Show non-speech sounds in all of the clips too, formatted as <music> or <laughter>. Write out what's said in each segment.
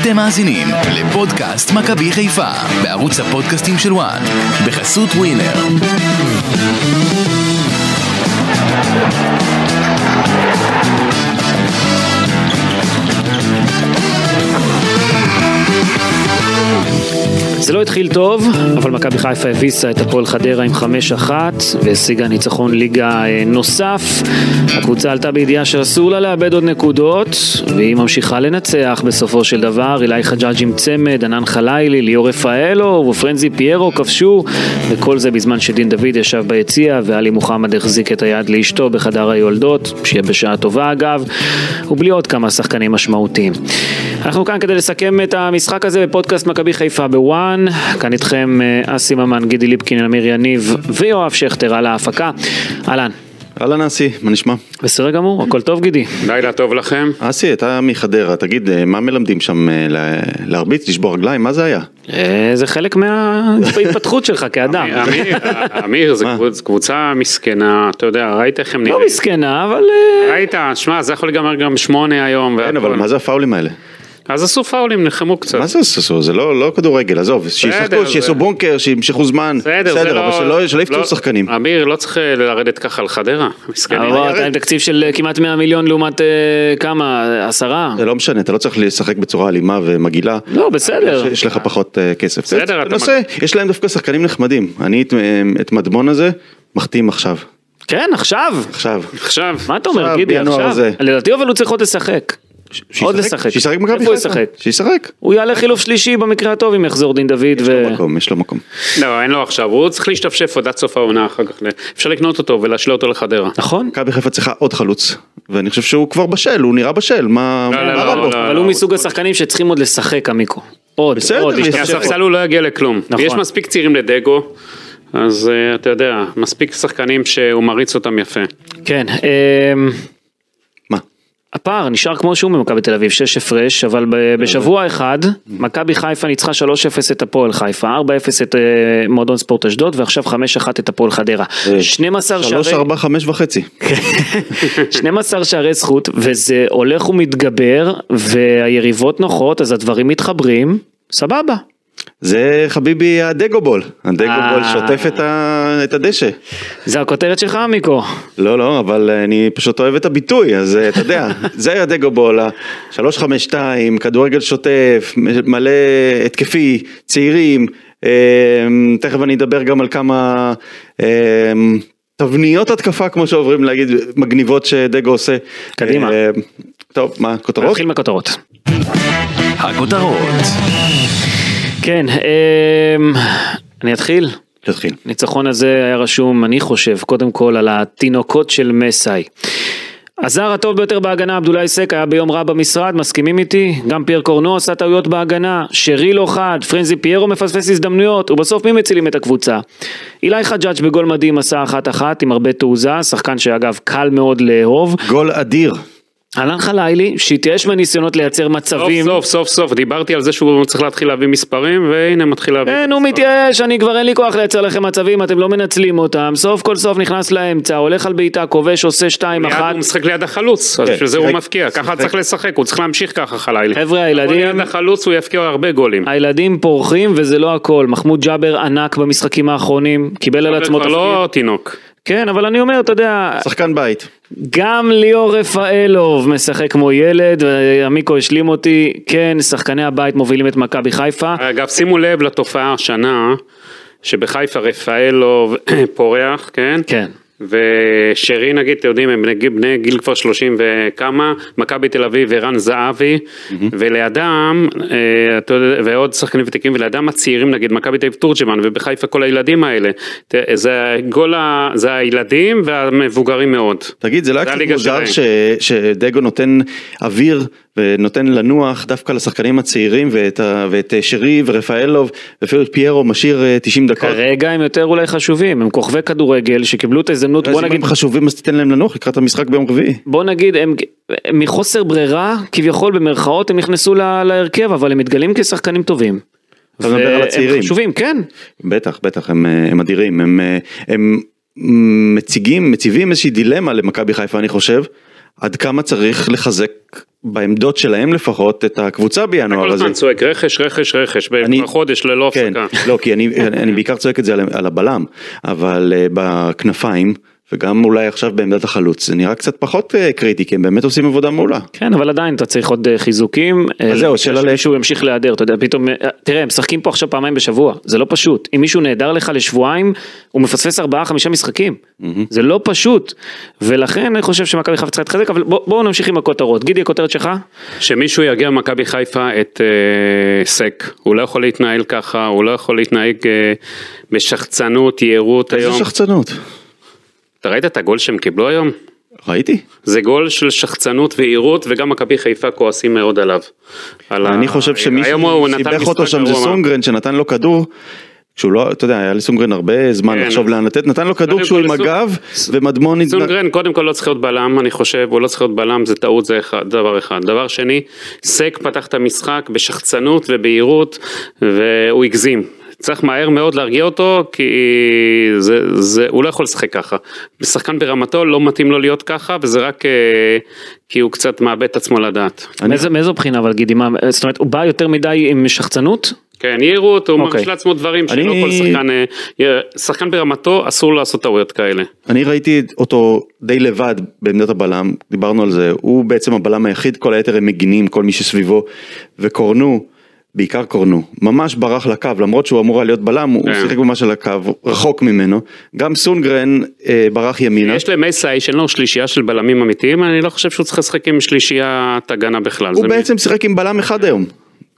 אתם מאזינים לפודקאסט מכבי חיפה בערוץ הפודקאסטים של וואן בחסות ווינר. זה לא התחיל טוב, אבל מכבי חיפה הביסה את הפועל חדרה עם 5-1 והשיגה ניצחון ליגה אה, נוסף. הקבוצה עלתה בידיעה שאסור לה לאבד עוד נקודות, והיא ממשיכה לנצח בסופו של דבר. אילי חג'אג' עם צמד, ענן חלילי, ליאור רפאלו ופרנזי פיירו כבשו, וכל זה בזמן שדין דוד ישב ביציע ועלי מוחמד החזיק את היד לאשתו בחדר היולדות, שיהיה בשעה טובה אגב, ובלי עוד כמה שחקנים משמעותיים. אנחנו כאן כדי לסכם את המשחק הזה בפודקאסט מכבי חיפה בוואן. כאן איתכם אה, אסי ממן, גידי ליפקין, אמיר יניב ויואב שכטר על ההפקה. אהלן, אהלן אסי, מה נשמע? בסדר גמור, הכל טוב גידי. לילה טוב לכם. אסי, אתה מחדרה, תגיד, אה, מה מלמדים שם אה, ל- להרביץ, לשבור רגליים, מה זה היה? אה, זה חלק מההתפתחות שלך כאדם. <laughs> אמיר, אמיר, זו אה. מה? קבוצ- קבוצה מסכנה, אתה יודע, ראית איך הם לא נראים. מסכנה, אבל... אה, ראית, שמע, זה יכול להיגמר גם שמונה היום. כן, והכל. אבל מה זה הפאולים האלה? אז עשו פאולים, נחמו קצת. מה זה עשו? זה לא לא כדורגל, עזוב, שישחקו, בסדר, שיעשו זה- בונקר, שימשכו זמן, בסדר, זה בסדר, אבל לא... שלא- שלא יפצעו לא- שחקנים. אמיר, לא צריך אה, לרדת ככה על חדרה, מסכנים. אבל אתה עם תקציב של אה, כמעט 100 מיליון לעומת אה, כמה? עשרה? זה לא משנה, אתה לא צריך לשחק בצורה אלימה ומגעילה. לא, בסדר. ש- יש לך פחות אה, כסף. בסדר, זה אתה נושא, יש להם דווקא שחקנים נחמדים. אני את- אה, את מדמון הזה, מחתים עכשיו. כן, עכשיו. עכשיו. עכשיו, מה אתה אומר, עכשיו, גידי, בינואר עכשיו? הזה. לדעתי אבל הוא צריך עוד לשחק. עוד שישחק- לשחק. שישחק במכבי איפה הוא חיפה. ישחק? שישחק. הוא יעלה חילוף שלישי במקרה הטוב אם יחזור דין דוד אה. יש ו... לו מקום, יש לו מקום. לא, אין לו עכשיו, הוא צריך להשתפשף עוד עד סוף העונה אחר כך. אפשר לקנות אותו ולהשלה אותו לחדרה. נכון? מכבי חיפה צריכה עוד חלוץ, ואני חושב שהוא כבר בשל, הוא נראה בשל, מה לא, מה לא, רע לא, בו? לא. אבל הוא מסוג השחחקנים שצריכים עוד לשחק עמיקו. עוד, בסדר, עוד, יש- כי להשתפשף. הספסל הוא לא יגיע לכלום. נכון. יש מספיק צעירים לדגו, אז אה, אתה יודע, מספיק שחקנים שהוא מריץ אותם יפה. כן. אמ, מה? הפער נשאר כמו שהוא במכבי תל אביב, 6 הפרש, אבל ב- בשבוע אחד, Mm. מכבי חיפה ניצחה 3-0 את הפועל חיפה, 4-0 את אה, מועדון ספורט אשדוד, ועכשיו 5-1 את הפועל חדרה. 12 שערי... אה. שלוש, ארבע, חמש וחצי. 12 שערי זכות, וזה הולך ומתגבר, והיריבות נוחות, אז הדברים מתחברים, סבבה. זה חביבי הדגו בול, הדגו אה. בול שוטף את ה- את הדשא. זה הכותרת שלך, מיקו. לא, לא, אבל אני פשוט אוהב את הביטוי, אז אה, אתה <laughs> יודע, זה הדגו בול, שלוש, חמש, שתיים, כדורגל שוטף, מ- מלא התקפי, צעירים, אה, תכף אני אדבר גם על כמה... אה, תבניות התקפה כמו שעוברים להגיד מגניבות שדגו עושה. קדימה. אה, טוב מה כותרות? נתחיל מהכותרות. הכותרות, כן, אמ, אני אתחיל. תתחיל. הניצחון הזה היה רשום, אני חושב, קודם כל על התינוקות של מסאי. הזר הטוב ביותר בהגנה, עבדולאי סק, היה ביום רע במשרד, מסכימים איתי? גם פייר קורנו עשה טעויות בהגנה, שרי לא חד, פרנזי פיירו מפספס הזדמנויות, ובסוף מי מצילים את הקבוצה? אילי חג'אג' בגול מדהים עשה אחת אחת עם הרבה תעוזה, שחקן שאגב קל מאוד לאהוב. גול אדיר. אלן חלילי, שהתייאש מניסיונות לייצר סוף מצבים. סוף סוף סוף דיברתי על זה שהוא צריך להתחיל להביא מספרים והנה מתחיל להביא. כן, הוא מתייאש, אני כבר אין לי כוח לייצר לכם מצבים, אתם לא מנצלים אותם. סוף כל סוף נכנס לאמצע, הולך על בעיטה, כובש, עושה 2-1. מיד הוא משחק ליד החלוץ, אז כן, בשביל זה הוא שיחק- מפקיע, ככה צריך לשחק, הוא צריך להמשיך ככה חלילי. חבר'ה, הוא ליד הילדים... החלוץ הוא יפקיע הרבה גולים. הילדים פורחים וזה לא הכל, מחמוד ג'אבר ענק במשחקים האחרונים, קיבל על אבל עצמו כבר תפקיד. לא תינוק. כן, אבל אני אומר, אתה יודע, שחקן בית. גם ליאור רפאלוב משחק כמו ילד, ועמיקו השלים אותי, כן, שחקני הבית מובילים את מכבי חיפה. אגב, שימו לב לתופעה השנה, שבחיפה רפאלו <clears throat> פורח, כן? כן. ושרי נגיד, אתם יודעים, הם בני, בני גיל כבר 30 וכמה, מכבי תל אביב ורן זהבי, ולידם, אה, אתה יודע, ועוד שחקנים ותיקים, ולידם הצעירים נגיד, מכבי תל אביב תורג'מן, ובחיפה כל הילדים האלה. ת- זה, גול ה, זה הילדים והמבוגרים מאוד. תגיד, זה לא זה היה קצת הליגה מוזר שלהם. ש... שדגו נותן אוויר ונותן לנוח דווקא לשחקנים הצעירים ואת, ה... ואת אה, שרי ורפאלוב ואפילו את פיירו משאיר אה, 90 דקות. כרגע הם יותר אולי חשובים, הם כוכבי כדורגל שקיבלו את ההזדמנות, אז בוא אם נגיד, הם חשובים אז תיתן להם לנוח לקראת המשחק ביום רביעי. בוא נגיד, הם, הם מחוסר ברירה, כביכול במרכאות, הם נכנסו לה, להרכב, אבל הם מתגלים כשחקנים טובים. אתה מדבר על והם הצעירים. חשובים, כן. בטח, בטח, הם, אה, הם אדירים. הם, אה, הם מציגים, מציבים איזושהי דילמה למכבי חיפה אני חושב. עד כמה צריך לחזק בעמדות שלהם לפחות את הקבוצה בינואר כל הזה. הזמן צועק רכש, רכש, רכש, אני- בחודש ללא כן, הפסקה. לא, כי אני, אני בעיקר צועק את זה על, על הבלם, אבל uh, בכנפיים, וגם אולי עכשיו בעמדת החלוץ, זה נראה קצת פחות uh, קריטי, כי הם באמת עושים עבודה מעולה. כן, אבל עדיין אתה צריך עוד אה, חיזוקים. אה, זהו, שאלה ל- שמישהו ימשיך להיעדר, אתה יודע, פתאום, אה, תראה, הם משחקים פה עכשיו פעמיים בשבוע, זה לא פשוט. אם מישהו נעדר לך לשבועיים, הוא מפספס ארבעה, חמישה משחקים. זה לא פשוט. ולכן אני חושב שמכבי חיפה צריכה להתחזק, אבל בוא- בואו נמשיך עם הכותרות. גידי, הכותרת שלך? שמישהו ירגיע במכבי חיפה את אה, סק, הוא לא יכול להתנהל ככה, הוא לא יכול להתנהג אה, בשחצנות, יהירות איזה היום. שחצנות. אתה ראית את הגול שהם קיבלו היום? ראיתי? זה גול של שחצנות ויהירות, וגם מכבי חיפה כועסים מאוד עליו. על ה- אני חושב היום הוא שמישהו נתן שיבח משחק אותו שם זה גרוע. סונגרן שנתן לו כדור. כשהוא לא, אתה יודע, היה לסונגרן הרבה זמן כן. לחשוב לאן לתת, נתן לו כדור קודם כשהוא כל עם לסונג- הגב, ומדמון... התנ- סונגרן קודם כל לא צריך להיות בלם, אני חושב, הוא לא צריך להיות בלם, זה טעות, זה אחד, דבר אחד. דבר שני, סק פתח את המשחק בשחצנות ובהירות, והוא הגזים. צריך מהר מאוד להרגיע אותו, כי זה, זה, הוא לא יכול לשחק ככה. שחקן ברמתו לא מתאים לו להיות ככה, וזה רק אה, כי הוא קצת מאבד את עצמו לדעת. מאיזה- מאיזו בחינה, אבל גידי, מה, זאת אומרת, הוא בא יותר מדי עם שחצנות? כן, יהירות, הוא אוקיי. מרגיש לעצמו דברים שלא אני- כל שחקן... אה, יה- שחקן ברמתו אסור לעשות טעויות כאלה. אני ראיתי אותו די לבד בעמדת הבלם, דיברנו על זה, הוא בעצם הבלם היחיד, כל היתר הם מגינים, כל מי שסביבו, וקורנו, בעיקר קורנו, ממש ברח לקו, למרות שהוא אמור היה להיות בלם, הוא כן. שיחק ממש על הקו, רחוק ממנו, גם סונגרן אה, ברח ימינה, יש למסאי שאין לו שלישייה של בלמים אמיתיים, אני לא חושב שהוא צריך לשחק עם שלישיית הגנה בכלל. הוא זה מ- בעצם שיחק עם בלם אחד היום,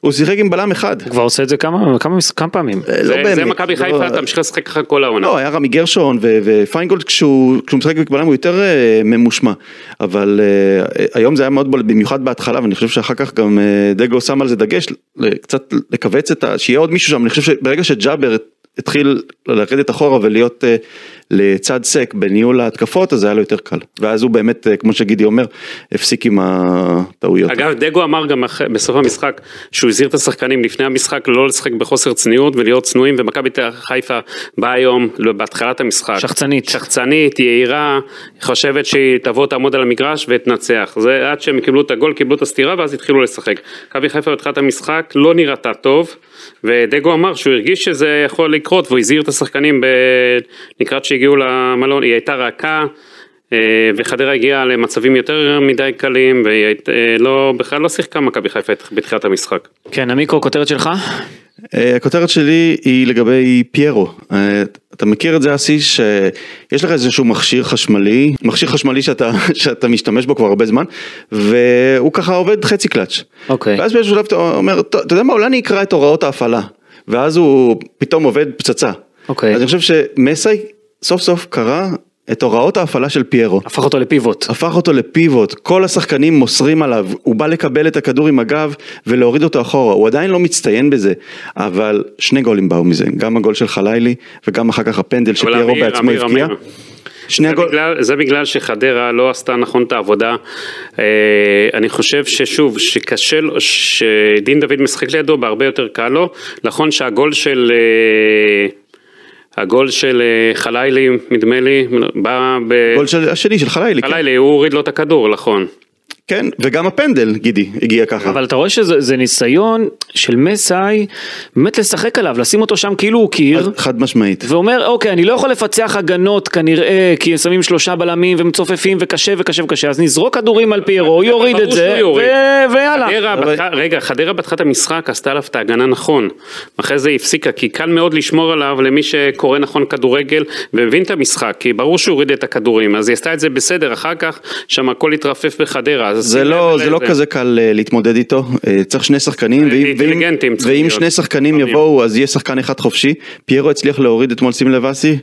הוא שיחק עם בלם אחד, כבר עושה את זה כמה כמה מש- כמה פעמים. אה, לא זה- באמת, זה מכבי לא- חיפה, תמשיך לשחק ככה כל העונה. לא, היה רמי גרשון ו- ופיינגולד כשהוא, כשהוא משחק בקבלם הוא יותר אה, ממושמע, אבל אה, היום זה היה מאוד בולט, במיוחד בהתחלה, ואני חושב שאחר כך גם אה, דגו שם על זה דגש, ל- קצת לכווץ את ה... שיהיה עוד מישהו שם, אני חושב שברגע שג'אבר התחיל לרדת אחורה ולהיות אה, לצד סק בניהול ההתקפות, אז היה לו יותר קל, ואז הוא באמת, אה, כמו שגידי אומר, הפסיק עם הטעויות. אגב, דגו אמר גם אח- בסוף המשחק שהוא הזהיר את השחקנים לפני המשחק לא לשחק בחוסר צניעות ולהיות צנועים, ומכבי תל- חיפה באה היום לא, בהתחלת המשחק. שחצנית. שחצנית, יהירה, חושבת שהיא תבוא, תעמוד על המגרש ותנצח. זה עד שהם קיבלו את הגול, קיבלו את הסטירה ואז התחילו לשחק. מכבי חיפה בתחילת המשחק לא נראתה טוב, ודגו אמר שהוא הרגיש שזה יכול לקרות, והוא הזהיר את השחקנים ב... לקראת שהגיעו למלון, היא הייתה רכה. אה, וחדרה הגיעה למצבים יותר מדי קלים, והיא היית- אה, לא, בכלל לא שיחקה מכבי חיפה בתחילת המשחק. כן, עמיקו, כותרת שלך? אה, הכותרת שלי היא לגבי פיירו. אה, אתה מכיר את זה אסי שיש לך איזשהו מכשיר חשמלי, מכשיר חשמלי שאתה, <laughs> שאתה משתמש בו כבר הרבה זמן, והוא ככה עובד חצי קלאץ'. אוקיי. ואז באיזשהו שלב אתה אומר, "טוב, אתה יודע מה, אולי אני אקרא את הוראות ההפעלה. ואז הוא פתאום עובד פצצה. אוקיי. אז אני חושב שמסי סוף סוף קרא את הוראות ההפעלה של פיירו. הפך אותו לפיבוט. אוקיי. הפך אותו לפיבוט, כל השחקנים מוסרים עליו, הוא בא לקבל את הכדור עם הגב ולהוריד אותו אחורה, הוא עדיין לא מצטיין בזה, אבל שני גולים באו מזה, גם הגול של חלילי וגם אחר כך הפנדל אבל שפיירו אמיר, בעצמו אמיר, הבקיע. אמיר. שני זה הגול... בגלל, זה בגלל שחדרה לא עשתה נכון את העבודה. אה, אני חושב ששוב, שקשה לו, שדין דוד משחק לידו, בהרבה יותר קל לו. נכון שהגול של... אה, הגול של אה, חלילי, נדמה לי, בא ב... גול של, השני של חלילי, כן. חלילי, הוא הוריד לו את הכדור, נכון. כן, וגם הפנדל, גידי, הגיע ככה. אבל אתה רואה שזה זה ניסיון של מסאי באמת לשחק עליו, לשים אותו שם כאילו הוא קיר. חד משמעית. ואומר אוקיי אני לא יכול לפצח הגנות כנראה כי הם שמים שלושה בלמים ומצופפים וקשה וקשה וקשה אז נזרוק כדורים על פיירו הוא יוריד כן, ברור את זה שהוא יוריד. ו- ויאללה. חדרה, אבל- בתח... רגע, חדרה בתחילת המשחק עשתה עליו את ההגנה נכון, אחרי זה היא הפסיקה, כי קל מאוד לשמור עליו למי שקורא נכון כדורגל ומבין את המשחק, כי ברור שהוא הוריד את הכדורים, אז היא עשתה את זה בסדר, אחר כך שם הכל התרפף בחדרה. אז זה שים לא, לב זה לא לזה. כזה קל אה, להתמודד איתו, אה, צריך שני שחקנים, ואם- אינטליגנטים ואם- צריכים ואם להיות. שני שחקנים חכמים. יבואו אז יהיה שחקן אחד חופשי. פיירו הצליח להוריד אתמול, שים לב אסי,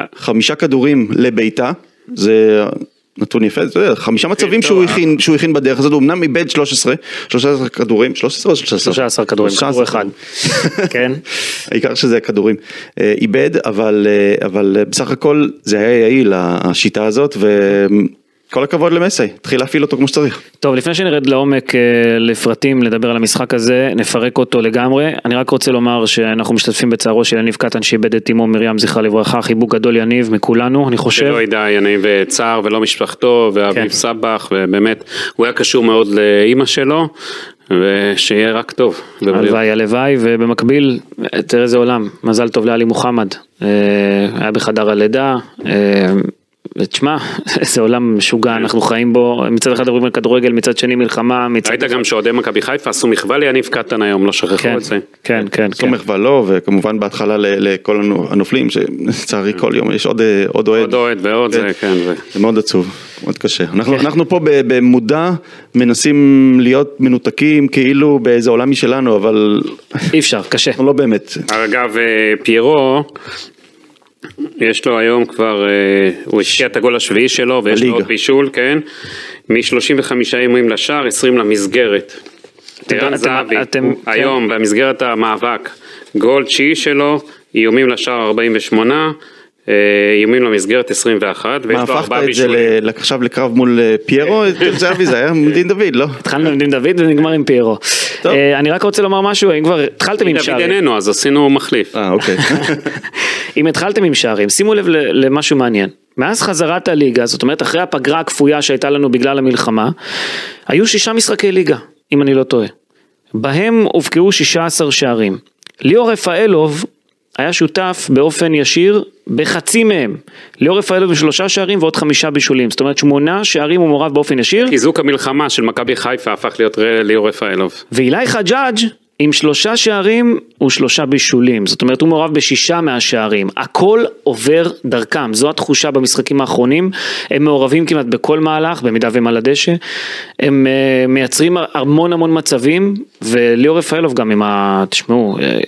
אה. חמישה כדורים לביתה, זה נתון יפה, אתה יודע, חמישה מצבים טוב, שהוא אה. הכין, שהוא הכין בדרך הזאת, הוא אמנם איבד 13, 13 כדורים, 13 או 13? 13 כדורים, כדור אחד. כן. העיקר שזה הכדורים אה, איבד, אבל, אה, אבל אה, בסך הכל זה היה יעיל השיטה הזאת, כל הכבוד למסי, התחיל להפעיל אותו כמו שצריך. טוב, לפני שנרד לעומק אה, לפרטים, לדבר על המשחק הזה, נפרק אותו לגמרי. אני רק רוצה לומר שאנחנו משתתפים בצערו של יניב קטן שאיבד את אמו מרים, זכרה לברכה, חיבוק גדול יניב מכולנו, אני חושב. שלא ידע יניב אה, צער ולא משפחתו כן. ואביב סבח ובאמת הוא היה קשור מאוד לאימא שלו ושיהיה רק טוב. ובריאות. הלוואי, הלוואי, ובמקביל, תראה איזה עולם, מזל טוב לאלי מוחמד, אה, היה בחדר הלידה, אה, ותשמע, <laughs> איזה עולם משוגע אנחנו חיים בו, מצד אחד מדברים על כדורגל, מצד שני מלחמה, מצד... ראית גם שאוהדי מכבי חיפה עשו מחווה ליניב קטן היום לא שכחו כן, את זה. כן, כן, כן. סומך ולא, וכמובן בהתחלה ל- לכל הנו- הנופלים, שלצערי כל יום יש עוד אה, עוד אוהד. כן. עוד אוהד ועוד זה כן. זה. זה מאוד עצוב, מאוד קשה. אנחנו, אנחנו פה ב- במודע מנסים להיות מנותקים כאילו באיזה עולם משלנו, אבל אי אפשר, קשה. אנחנו לא באמת. אגב אה, פיירו. יש לו היום כבר, אה, הוא השקיע את הגול השביעי שלו ויש לו בליגה. עוד בישול, כן? מ-35 אימונים לשער, 20 למסגרת. אתם- ערן זהבי, אתם- הוא כן. היום במסגרת המאבק, גול תשיעי שלו, איומים לשער 48, אה, איומים למסגרת 21, מה ויש לו הפכת ארבעה את זה בישולים. כן. ל- עכשיו לקרב מול אה, פיירו? את זהבי זה היה דין דוד, לא? התחלנו עם דין דוד ונגמר עם פיירו. טוב. אה, אני רק רוצה לומר משהו, אם כבר התחלתם עם דוד שערים. איננו, אז עשינו מחליף. אה, <laughs> אוקיי. <laughs> אם התחלתם עם שערים, שימו לב ל- למשהו מעניין. מאז חזרת הליגה, זאת אומרת אחרי הפגרה הכפויה שהייתה לנו בגלל המלחמה, היו שישה משחקי ליגה, אם אני לא טועה. בהם הובקעו 16 שערים. ליאור רפאלוב היה שותף באופן ישיר בחצי מהם. ליאור רפאלוב עם שלושה שערים ועוד חמישה בישולים. זאת אומרת שמונה שערים הוא מעורב באופן ישיר. חיזוק המלחמה של מכבי חיפה הפך להיות ר- ליאור רפאלוב. ואילי חג'אג' עם שלושה שערים ושלושה בישולים, זאת אומרת הוא מעורב בשישה מהשערים, הכל עובר דרכם, זו התחושה במשחקים האחרונים, הם מעורבים כמעט בכל מהלך, במידה והם על הדשא, הם uh, מייצרים המון המון מצבים, וליאור רפאלוב גם עם ה... תשמעו, אה,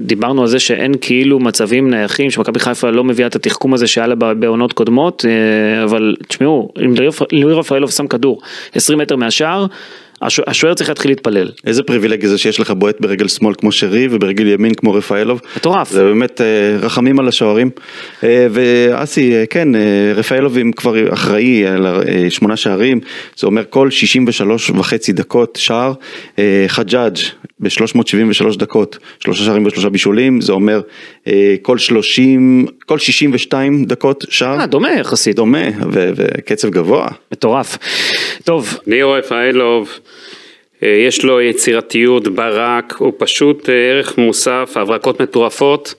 דיברנו על זה שאין כאילו מצבים נייחים, שמכבי חיפה לא מביאה את התחכום הזה שהיה לה ב- בעונות קודמות, אה, אבל תשמעו, אם ליאור- ליאור רפאלוב שם כדור 20 מטר מהשער, הש- השוער צריך להתחיל להתפלל. איזה פריבילגיה זה שיש לך בועט ברגל שמאל כמו שרי וברגל ימין כמו רפאלוב. מטורף. זה באמת אה, רחמים על השוערים. אה, ואסי, אה, כן, אה, רפאלוב אם כבר אחראי על אה, שמונה שערים, זה אומר כל 63 וחצי דקות שער. אה, חג'אג' ב-373 דקות, שלושה שערים ושלושה בישולים, זה אומר אה, כל 30, כל 62 דקות שער. אה, דומה יחסית, דומה, ו- וקצב גבוה. מטורף. טוב, ליאור רפאלוב, אה, יש לו יצירתיות, ברק, הוא פשוט אה, ערך מוסף, הברקות מטורפות.